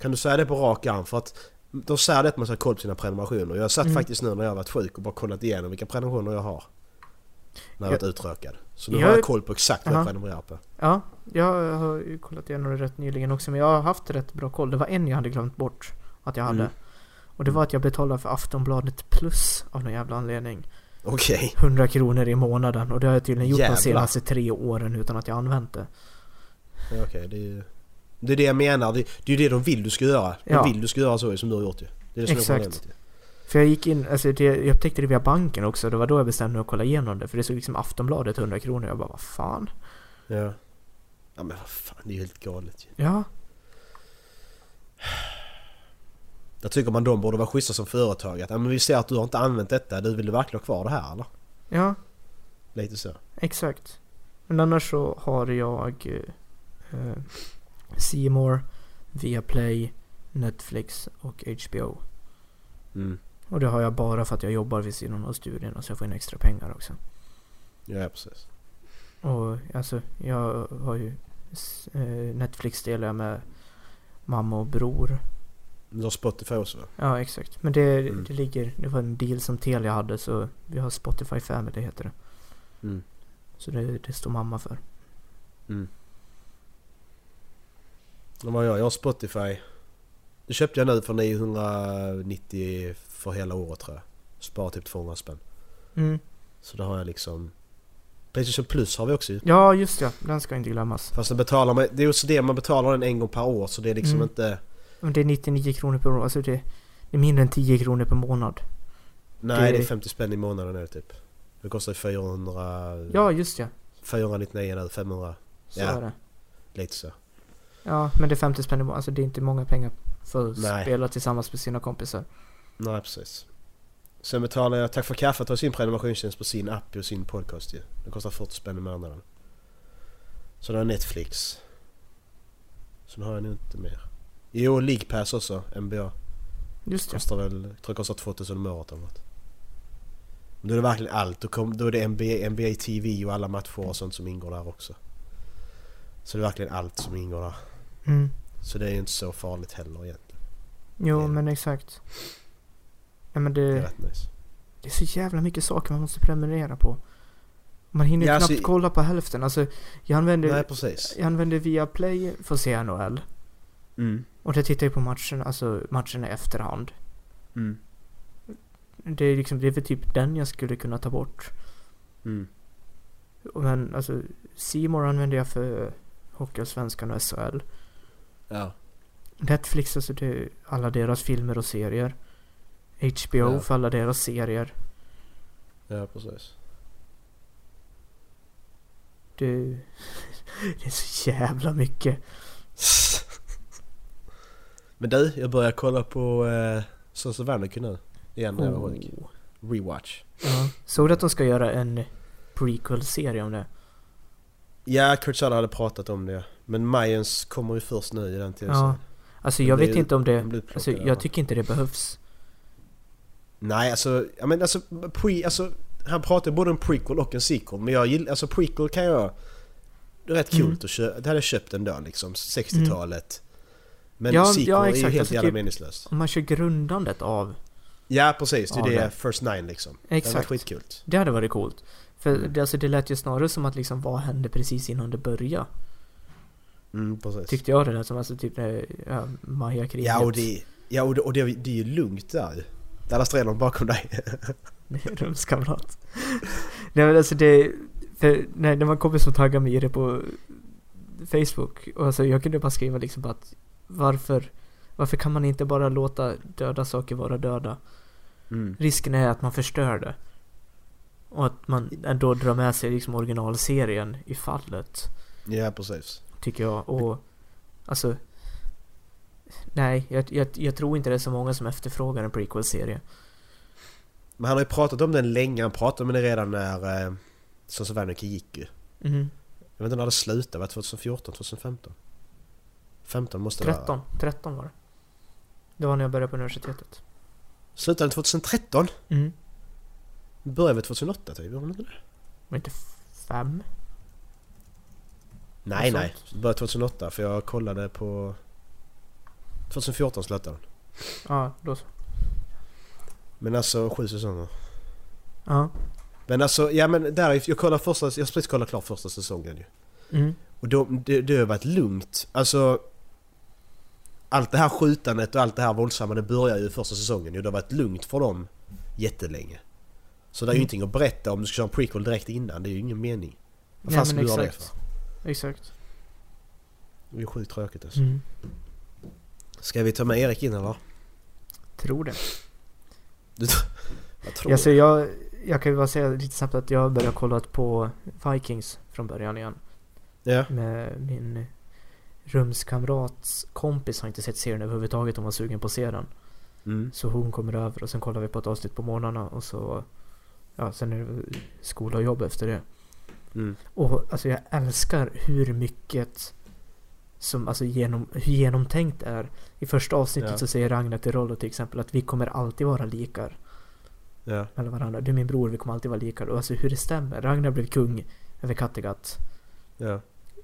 Kan du säga det på rak arm? För att de säger det att man ska ha koll på sina prenumerationer. Jag satt
Mm.
faktiskt nu när jag varit sjuk och bara kollat igenom vilka prenumerationer jag har. När jag
Jag-
varit utrökad. Så nu
Jag-
har jag koll på exakt vad jag
Aha.
prenumererar på.
Ja, jag har ju kollat igenom det rätt nyligen också men jag har haft rätt bra koll. Det var en jag hade glömt bort att jag hade.
Mm.
Och det var att jag betalade för Aftonbladet plus av någon jävla anledning.
Okej.
100 kronor i månaden och det har jag tydligen gjort
Jävlar.
de senaste tre åren utan att jag använt det.
Ja, Okej, det är ju... Det är det jag menar. Det, det är ju det de vill du ska göra. De
Ja.
vill du ska göra så som du har gjort ju. Det är det som
Exakt.
är problemet ju.
För jag gick in, alltså det, jag upptäckte det via banken också. Det var då jag bestämde mig att kolla igenom det. För det såg liksom Aftonbladet 100 kronor. Jag bara vad fan?
Ja. Ja men vad fan, det är ju helt galet ju.
Ja,
Jag tycker man de borde vara schyssta som företag. Att, ja, men vi ser att du har inte använt detta. Du vill du verkligen ha kvar det här eller?
ja.
Lite så.
Exakt. Men annars så har jag eh, eh, C More, Viaplay, Netflix och HBO.
Mm.
Och det har jag bara för att jag jobbar vid sidan av studierna så jag får in extra pengar också.
Ja precis.
Och alltså, jag har ju s- eh, Netflix delar jag med mamma och bror.
Du har Spotify också va?
Ja, exakt. Men det,
Mm.
det ligger, det var en deal som Telia hade så vi har Spotify Family heter det.
Mm.
Så det, det står mamma för.
Ja, Vad jag? Jag har Spotify. Det köpte jag nu för 990 för hela året tror jag. Sparar typ 200 spänn.
Mm.
Så då har jag liksom... Playstation Plus har vi också ju.
Ja, just ja. Den ska inte glömmas.
Fast den betalar man, det är också det, man betalar den en gång per år så det är liksom
Mm.
inte...
Men det är 99 kronor per år, alltså det, det är mindre än 10 kronor per månad.
Mm. Nej
Det-
det är 50 spänn i månaden är det typ. Det kostar ju 400...
Ja, just ja.
499 nu, 500.
Så
Ja.
är det.
Lite så.
Ja, men det är 50 spänn i månaden, alltså det är inte många pengar för att
Nej.
spela tillsammans med sina kompisar.
Nej precis. Sen betalar jag Tack för kaffet och sin prenumerationstjänst på sin app och sin podcast ju. Det kostar 40 spänn i månaden. Sen har jag Netflix. Sen har jag nog inte mer. Jo, League Pass också, NBA.
Just ja.
Kostar väl, jag tror det kostar 2000 om året eller något. Men då är det verkligen allt. Då, kom, då är det NBA, NBA TV och alla matcher och sånt som ingår där också. Så det är verkligen allt som ingår där.
Mm.
Så det är ju inte så farligt heller egentligen.
Jo,
Det-
men exakt. Ja, men
Det är
det,
rätt nice.
det är så jävla mycket saker man måste prenumerera på. Man hinner
Ja,
knappt
alltså-
kolla på hälften. Alltså, jag använder,
Nej precis.
jag använder Viaplay för att se NHL.
Mm.
Och det tittar jag på matchen, alltså matcherna i efterhand.
Mm.
Det är liksom, det är väl typ den jag skulle kunna ta bort.
Mm.
Men alltså, Simor använder jag för Hockeyallsvenskan och SHL.
Ja.
Netflix alltså till alla deras filmer och serier. HBO
Ja.
för alla deras serier.
Ja precis.
Det, [LAUGHS] det är så jävla mycket.
Men du, jag börjar kolla på eh, Sons of Anarchy nu. Igen när jag var sjuk.
Oh.
Rewatch.
Ja. Såg du att de ska göra en prequel-serie om det?
Ja, Kurt Sutter hade pratat om det. Men Mayans kommer ju först nu i den tiden.
Ja. Alltså jag
Det är
vet
ju-
inte om
de
det...
blir
Alltså
plockade, va?
jag tycker inte det behövs.
Nej, alltså, ja, men alltså, pre, alltså... Han pratade både om prequel och en sequel. Men jag gillar, alltså prequel kan jag... Det är rätt kul
Mm.
att köpa. Det hade jag köpt ändå liksom, 60-talet. Men
Ja,
sequel är
ja,
ju
exakt.
helt
Alltså,
jävla
typ-
meningslöst.
Om man kör grundandet av
Ja, precis. Det är
Ja,
det
det.
First Nine liksom. Det hade varit
Exakt.
skitkul.
Det hade varit coolt. För
Mm.
det, alltså, det lät ju snarare som att liksom vad hände precis innan det började.
Mm, precis.
Tyckte jag det lät som. Alltså typ när ja, Maya-kriget.
Ja och det, ja, och det, och det, det är ju lugnt där ju. Där står någon bakom dig.
Rumskamrat. Nej men alltså det... För när, när man kommer som taggar mig i det på Facebook. Och alltså jag kunde bara skriva liksom bara att varför... Varför kan man inte bara låta döda saker vara döda? Risken är att man förstör det. Och att man ändå drar med sig liksom originalserien i fallet.
Ja precis.
Tycker jag och Alltså Nej, jag, jag, jag tror inte det är så många som efterfrågar en prequel-serie.
Men han har ju pratat om den länge, han pratade om den redan när eh, Sons of Anarchy gick ju.
Mhm.
Jag vet inte när det slutade, var det 2014, 2015? 15 måste det vara.
13, 13 var det. Det var när jag började på universitetet.
Slutade den 2013?
Mm.
Började väl 2008 typ? Gjorde den inte det?
Var inte fem?
Nej,
Något
nej. Började 2008 för jag kollade på... 2014 slutade den.
Ja, då så.
Men alltså sju säsonger.
Ja.
Men alltså, ja men där, jag kollar första, jag har precis kollat klart första säsongen ju.
Mm.
Och då, det, det har varit lugnt. Alltså... Allt det här skjutandet och allt det här våldsamma det börjar ju i första säsongen ju. Det har varit lugnt för dem jättelänge. Så det är ju
Mm.
ingenting att berätta om du ska köra en prequel direkt innan. Det är ju ingen mening. Vad fan
Nej,
ska
men
du göra det
exakt. Exakt.
Det är ju sjukt tråkigt alltså.
Mm.
Ska vi ta med Erik in eller?
Tror det.
Du, jag tror
Alltså jag, jag kan ju bara säga lite snabbt att jag började kolla på Vikings från början igen.
Ja.
Med min rumskamrats kompis har inte sett serien överhuvudtaget. Hon var sugen på att se den.
Mm.
Så hon kommer över och sen kollar vi på ett avsnitt på morgnarna och så... Ja, sen är det skola och jobb efter det.
Mm.
Och alltså jag älskar hur mycket som alltså genom, hur genomtänkt det är. I första avsnittet
Ja.
så säger Ragnar till Rollo till exempel att vi kommer alltid vara likar.
Ja.
Mellan varandra. Du är min bror, vi kommer alltid vara likar. Och alltså hur det stämmer. Ragnar blev kung över Kattegatt.
Ja.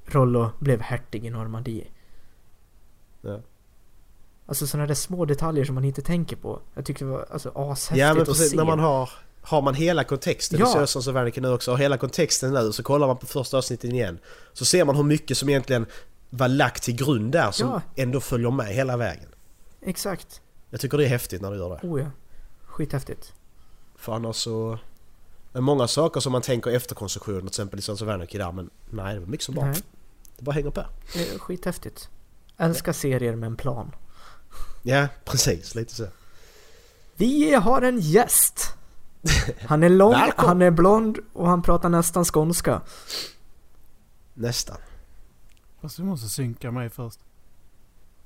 Rollo blev hertig i Normandie.
Ja.
Alltså sådana där små detaljer som man inte tänker på. Jag tyckte det var alltså, ashäftigt
ja men
att
precis,
se.
när man har... Har man hela kontexten,
Ja.
det ser jag som Wernicke nu också, har hela kontexten nu så kollar man på första avsnittet igen. Så ser man hur mycket som egentligen var lagt till grund där som
Ja.
ändå följer med hela vägen.
Exakt.
Jag tycker det är häftigt när du gör det.
Oh ja. Skithäftigt.
För annars så... Det är många saker som man tänker efter konstruktion, till exempel i Sons of Anarchy där, men nej det var mycket som bara...
Nej,
Det bara hänger på.
det är Eh, skithäftigt. Älskar serier med en plan.
Ja, precis. Lite så.
Vi har
[LAUGHS]
en gäst! Han är lång,
Välkommen.
han är blond och han pratar nästan skånska.
Nästan.
Fast du måste synka mig först.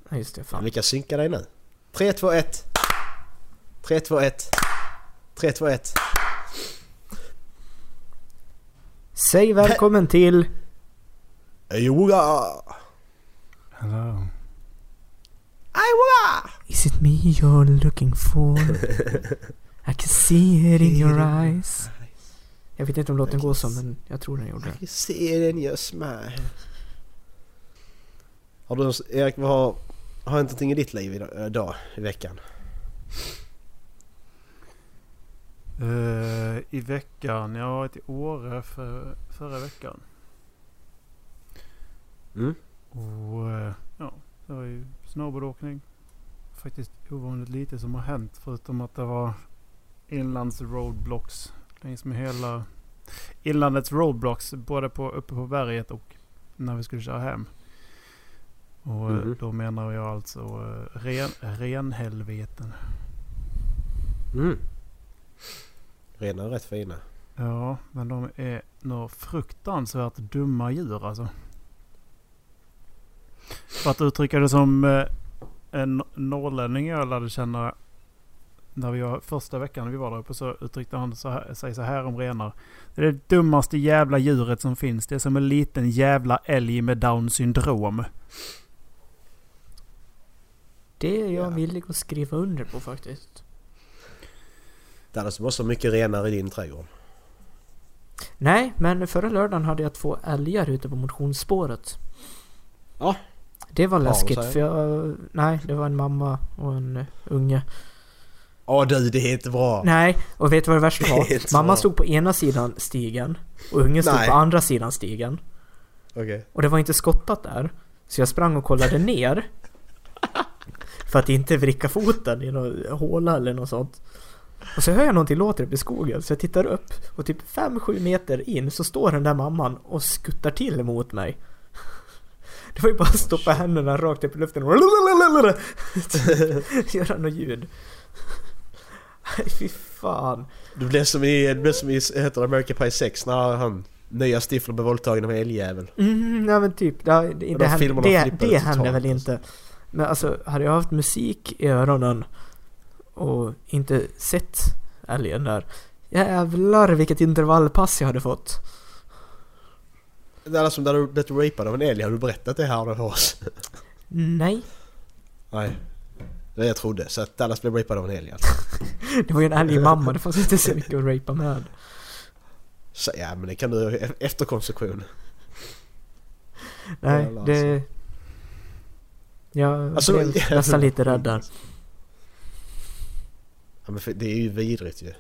Ja just det,
Men
fan.
vi kan synka dig nu. 3, 2, 1. 3, 2, 1. 3, 2, 1.
Säg välkommen till...
Joa!
Hello.
Is it me you're
[LAUGHS]
looking for? I can see it in your eyes. Jag vet inte om låten går så men jag tror den gjorde det.
You see it in your smile. Har du, Erik, vad har, har inte någonting i ditt liv idag, idag i veckan?
Eh, I veckan, jag har varit i Åre för, förra veckan.
Mm.
Och eh, ja, det var ju snowboardåkning. Faktiskt ovanligt lite som har hänt förutom att det var inlands roadblocks längs med hela inlandets roadblocks. Både på, uppe på berget och när vi skulle köra hem. Och eh,
Mhm.
då menar jag alltså eh, ren, renhelveten.
Mm. Redan är rätt fina.
Ja, men de är några fruktansvärt dumma djur alltså. För att uttrycka det som eh, en norrlänning jag lärde känna när vi var, första veckan vi var där uppe så uttryckte han så här, sig så här om renar. Det är det dummaste jävla djuret som finns. Det är som en liten jävla älg med down syndrom.
Det är jag
Ja.
villig att skriva under på faktiskt.
Dallas, du måste ha mycket renare i din trädgård.
Nej, men förra lördagen hade jag två älgar ute på motionsspåret.
Ja.
Det var
de
läskigt
säger.
för jag... Nej, det var en mamma och en eh, unge.
Åh du, det är inte bra!
Nej, och vet du vad det
[LAUGHS]
värsta
Det är inte
var? Mamma
bra.
stod på ena sidan stigen och ungen stod
Nej.
på andra sidan stigen.
Okej.
Och det var inte skottat där. Så jag sprang och kollade ner. För att inte vricka foten i någon håla eller något sånt. Och så hör jag någonting låter uppe i skogen så jag tittar upp och typ 5-7 meter in så står den där mamman och skuttar till mot mig. Det var ju bara att stoppa händerna rakt upp i luften och [LAUGHS] göra något ljud. Nej, Fy fan.
Du blev som i, du blev som i heter det, American Pie 6 när han, nya Stifler blev våldtagen av en älgjävel.
Mm, ja men typ. Ja, det,
de
det, händer,
filmerna
det,
flippade
det händer
totalt,
väl inte. Men alltså, hade jag haft musik i öronen och inte sett älgen där. Jävlar vilket intervallpass jag hade fått.
Det är alla som där du blivit rapad av en älg. Har du berättat det här då för oss?
Nej,
[LAUGHS] Nej. Det är jag trodde. Så att Dallas blev rapad av en älg alltså.
det var ju en älg mamma. Det fanns inte så mycket att rapa med.
Så, ja men det kan du e- efter konstruktion.
Nej,
Jävlar,
det... Jag
Alltså,
blev
jävlar.
nästan lite rädd där.
Ja, men för det är ju vidrigt ju. Ja,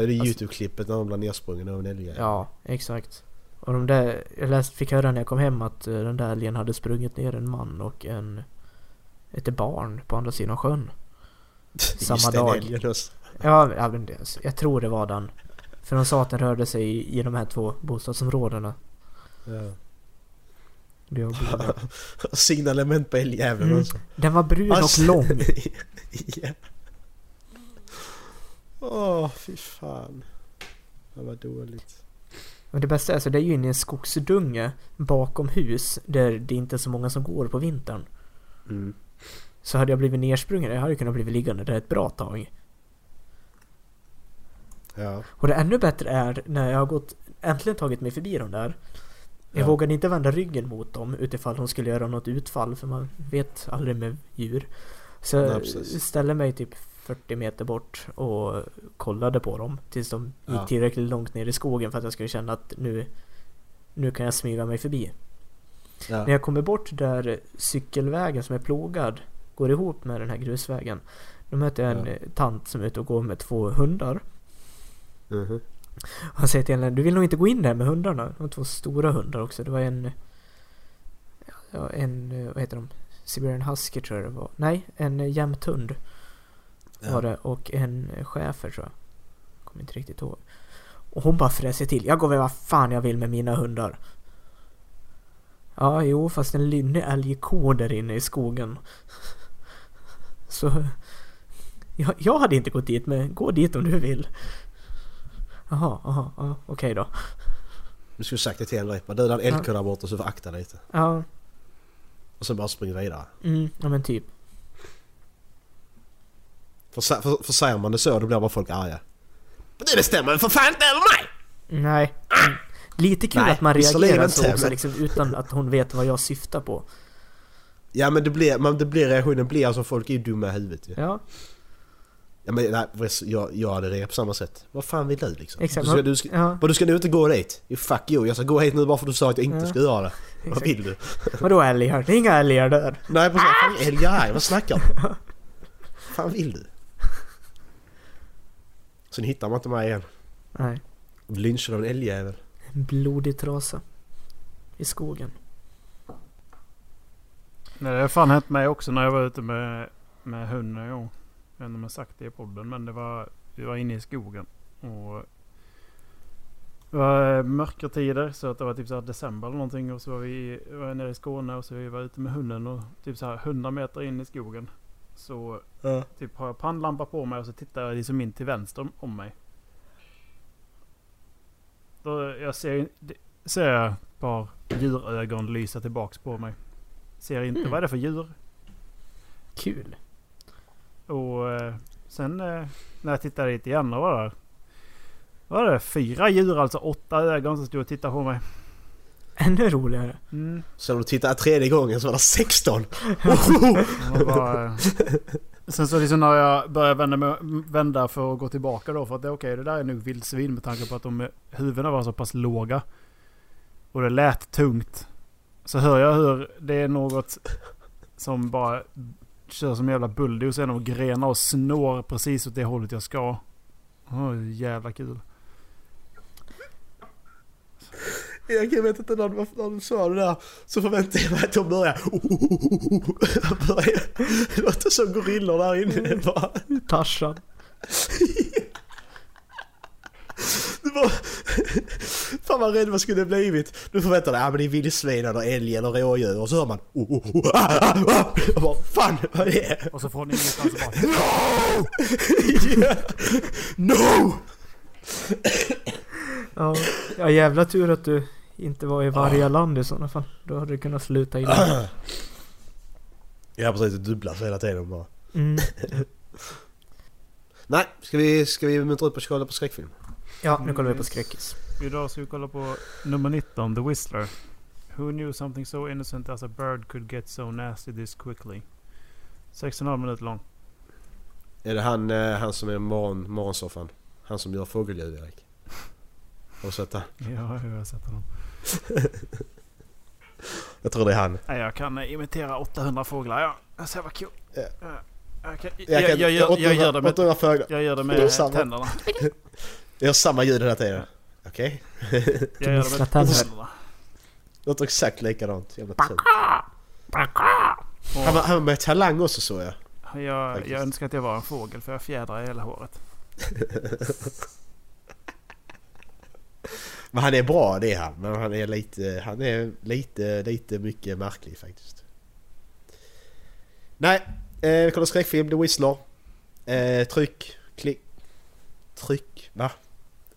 Ja,
det är
alltså-
Youtube-klippet när de blir nersprungen av en älg.
Ja, exakt. Och de där, jag läste, fick höra när jag kom hem att eh, den där älgen hade sprungit ner en man och en, ett barn på andra sidan sjön.
[LAUGHS] Just
samma
den
dag.
älgen, alltså.
Ja, ja, men det- jag tror det var den. För de sa att den rörde sig i, i de här två bostadsområdena.
Ja.
Det var blod.
[LAUGHS] Signalement på älgjäveln
Mm.
alltså. [LAUGHS]
Den var brun och
Alltså.
lång.
ja. Åh, fy fan. Det var dåligt.
Och det bästa är så det är ju inne i en skogsdunge bakom hus där det inte är så många som går på vintern.
Mm.
Så hade jag blivit nersprungen, jag hade ju kunnat blivit liggande där ett bra tag.
Ja.
Och det ännu bättre är när jag har gått, äntligen tagit mig förbi de där. Jag
Ja.
vågade inte vända ryggen mot dem utifall de skulle göra något utfall för man vet aldrig med djur. Så
Nej,
jag
precis.
ställde mig typ 40 meter bort och kollade på dem tills de gick
Ja.
tillräckligt långt ner i skogen för att jag skulle känna att nu, nu kan jag smyga mig förbi.
Ja.
När jag kommer bort där cykelvägen som är plågad går ihop med den här grusvägen. Då möter jag en
Ja.
eh, tant som är ute och går med två hundar.
Mhm.
Han säger till henne, du vill nog inte gå in där med hundarna. De var två stora hundar också. Det var en... Ja, en, eh, vad heter de? Siberian Husky tror jag det var. Nej, en eh, jämthund
Ja.
var det. Och en eh, schäfer tror jag. Kommer inte riktigt ihåg. Och hon bara fräser till. Jag går väl vad fan jag vill med mina hundar. Ja, jo, fast en lynnig älg går där inne i skogen. [LAUGHS] Så... Jag, jag hade inte gått dit, men gå dit om du vill. Jaha, jaha, ja, okej då.
Du skulle sagt det till en repa. Du, den älg där borta så får akta dig lite.
Ja,
Och sen bara spring vidare.
mm, ja men typ.
För, sa- för, för säger man det så då blir bara folk arga. Men det stämmer för fan inte över mig!
Nej. Mm. Lite kul
Nej,
att man
visserligen
reagerar
inte,
så också
men-
liksom, utan att hon vet vad jag syftar på.
Ja men det blir, men det blir reaktionen blir alltså folk är ju dumma i huvudet ju.
Ja,
Ja, men nej, precis, jag, jag hade det på samma sätt. Vad fan vill du liksom?
Exakt,
Du ska,
men-
du ska,
ja.
Vad, du ska nu inte gå dit? Jo, fuck you, jag ska gå hit nu bara för att du sa att jag inte
Ja.
ska göra
[LAUGHS]
det. Vad
Exakt. Ah!
vill du?
vadå älgar? Det är inga älgar där.
Nej precis, fan älgar är arg, vad snackar du?
[LAUGHS]
fan vill du? Sen hittar man inte mig igen.
Nej,
Lynchad av en älgjävel.
en blodig trasa. I skogen.
Nej, det har fan hänt mig också när jag var ute med, med hunden. Jo. Jag vet inte om jag sagt det i podden. Men det var, vi var inne i skogen. Och det var eh, mörka tider. Så att det var typ så här december eller någonting. Och så var vi var jag nere i Skåne. Och så vi var ute med hunden. Och typ så här 100 meter in i skogen. Så
Ja.
typ har jag pannlampa på mig. Och så tittar jag liksom in till vänster om, om mig. Då jag ser, ser jag ett par djurögon lysa tillbaks på mig. Ser inte
Mm.
vad är det för djur.
Kul.
Och eh, sen eh, när jag tittade dit igen då var det, var det fyra djur, alltså åtta ögon som stod och tittade på mig.
Ännu roligare.
Mm.
Sen när du tittar tredje gången så var det
[LAUGHS]
16!
Det var bara, eh. [LAUGHS] Sen så liksom när jag började vända, mig, vända för att gå tillbaka då för att det, okej det där är nog vildsvin med tanke på att de eh, huvudena var så pass låga. Och det lät tungt. Så hör jag hur det är något som bara kör som en jävla bulldozer genom grenar och snår precis åt det hållet jag ska. Åh, jävla kul.
Jag vet inte någon, varför någon sa det där. Så förväntade jag mig att de började... Det låter som gorillor där
Mm.
inne bara.
Tarzan.
Det var... [LAUGHS] Fan vad rädd man skulle blivit. Du förväntar dig att ah, men det är vildsvin eller älg eller rådjur och så hör man... Ah, ah, ah. Jag bara, fan vad är det?
Och så från ingenstans bara...
[LAUGHS] Ja. No!
Ja, ja, jävla tur att du
Ah.
inte var i varje land i sådana fall. Då hade du kunnat sluta illa.
Ja precis, det dubblas hela tiden bara.
Mm.
Nej, ska vi, ska vi muntra ut på att kolla på skräckfilm?
Ja, nu kollar vi på skräckis.
Idag ska vi kolla på nummer 19, The Whistler. Who knew something so innocent as a bird could get so nasty this quickly? 6,5 minuter lång.
Är det han, eh, han som är morgon, morgonsoffan? Han som gör fågelljud Erik? Har du sett det?
Ja, jag har sett honom.
Jag tror det är han.
Nej, jag kan eh, imitera 800 fåglar. Ja, jag ser vad kul.
Ja.
Ja, Jag, kan, jag,
Jag,
jag,
kan,
jag, gör- jag gör det med,
800 fåglar.
jag gör det
Det är
med
samma.
tänderna.
Jag gör samma ljud hela tiden. Okej?
Jag gör det
Gnissla
med
tänder.
tänderna.
Låter exakt likadant. Jävla tönt. Han var, han var med talang också såg jag.
Jag,
Faktiskt.
jag önskar att jag var en fågel för jag fjädrar i hela håret.
Men han är bra det är han. Men han är lite, han är lite, lite mycket märklig faktiskt. Nej, eh, vi kollar skräckfilm, The Whistler. Eh, tryck, klick, tryck, va?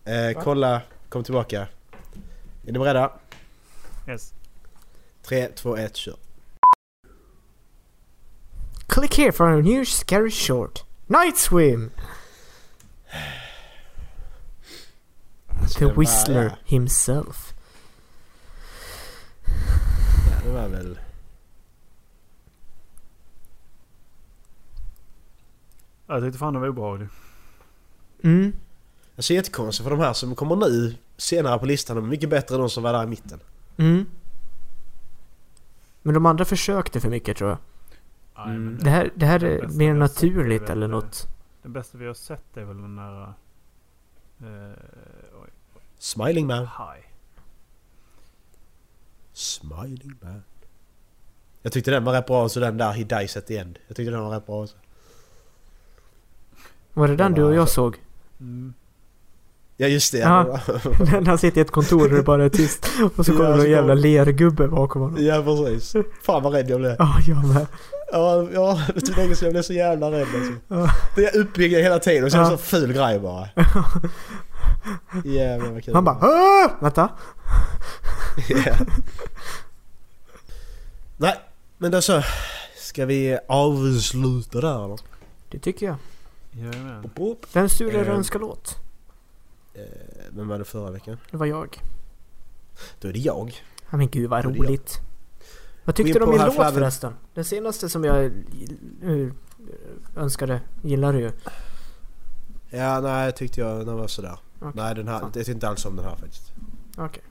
Eh, Kolla, kom tillbaka. Är ni beredda?
Yes.
3, 2, 1, kör.
Click here for our new scary short. Night Swim!
det
The
var-
Whistler himself.
Ja, det var väl...
Jag tyckte fan det var obehagligt.
Mm.
Alltså jättekonstigt för de här som kommer nu senare på listan, de är mycket bättre än de som var där i mitten.
Mm. Men de andra försökte för mycket tror jag.
Mm.
Nej, men
Det här, det här
Det
är
bästa
mer
jag sett är
naturligt
väl,
eller
eh,
något.
Det bästa vi har sett är väl den där... eh, oj,
Smiling man.
high.
Smiling man. Jag tyckte den var rätt bra, så den där He Dies At The End. Jag tyckte den var rätt bra också.
Var det den du och
[LAUGHS]
jag såg? [LAUGHS]
Mm.
Ja just det.
Ja.
Ja,
När han sitter i ett kontor och det bara är tyst. Och så
Ja,
kommer
så
någon jävla
kommer-
lergubbe bakom
[LAUGHS]
honom.
ja precis. Fan vad rädd jag blev.
Ja, jag med.
Ja, ja det tog länge sedan jag blev så jävla rädd alltså.
Ja.
Det är uppbyggd hela tiden och sen
Ja.
så ful grej bara. Jävlar vad kul.
Han bara "Åh!" Vänta.
Ja. Nej, men då så. Ska vi avsluta där eller?
Det tycker jag.
Jajamän.
Vem sur är det
Eh.
önskar låt?
Eh, Vem var det förra veckan?
Det var jag.
Då är det jag.
Ja, men gud vad
Ja, det är jag.
roligt. Vad
Gå in
tyckte du om
på
min
den här
låt
flabben.
förresten? Den senaste som jag eh, önskade, gillar du ju.
Ja, nej tyckte jag den var sådär.
Okej.
Nej, den här, jag tyckte inte alls om den här faktiskt.
Okej.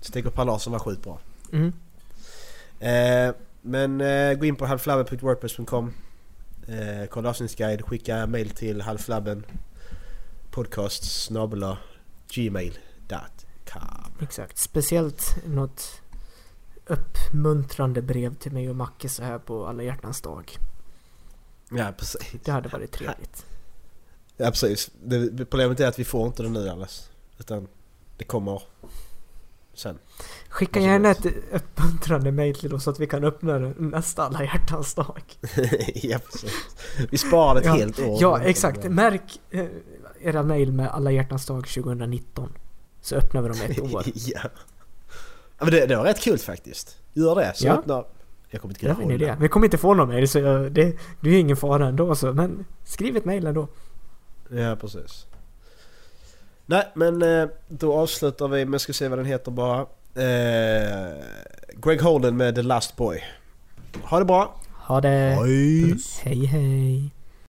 Stig och Per Larsson var skitbra.
Mm.
Eh, men eh, gå in på halvflabben.wordpress.com eh, Kolla avsnittsguide, skicka mail till halvflabben podcast snabel-a gmail.com
Exakt. Speciellt något uppmuntrande brev till mig och Macke så här på alla hjärtans dag.
Ja precis.
Det hade varit trevligt.
Ja, precis. Det, problemet är att vi får inte den nu alls. Utan det kommer sen. [LAUGHS]
Skicka
Varsågod.
gärna ett uppmuntrande mejl till oss så att vi kan öppna det nästa alla hjärtans dag.
ja precis. Vi sparar ett
Ja.
helt år.
Ja, exakt. Märk eh, era mejl med alla hjärtans dag 2019. Så öppnar vi dem ett år.
[LAUGHS] [LAUGHS] ja. ja men det, det var rätt kul faktiskt. Gör det. Så
Ja.
öppna... Jag kommer inte
Det
kunna
var en idé.
hålla.
Vi kommer inte få någon mejl så jag, det, det är ju ingen fara ändå så. Men skriv ett mejl ändå.
Ja precis. Nej men eh, då avslutar vi med, ska se vad den heter bara. Eh, Greg Holden med The Last Boy. Ha det bra.
Eh, Ha det!
Hej.
Hej hej!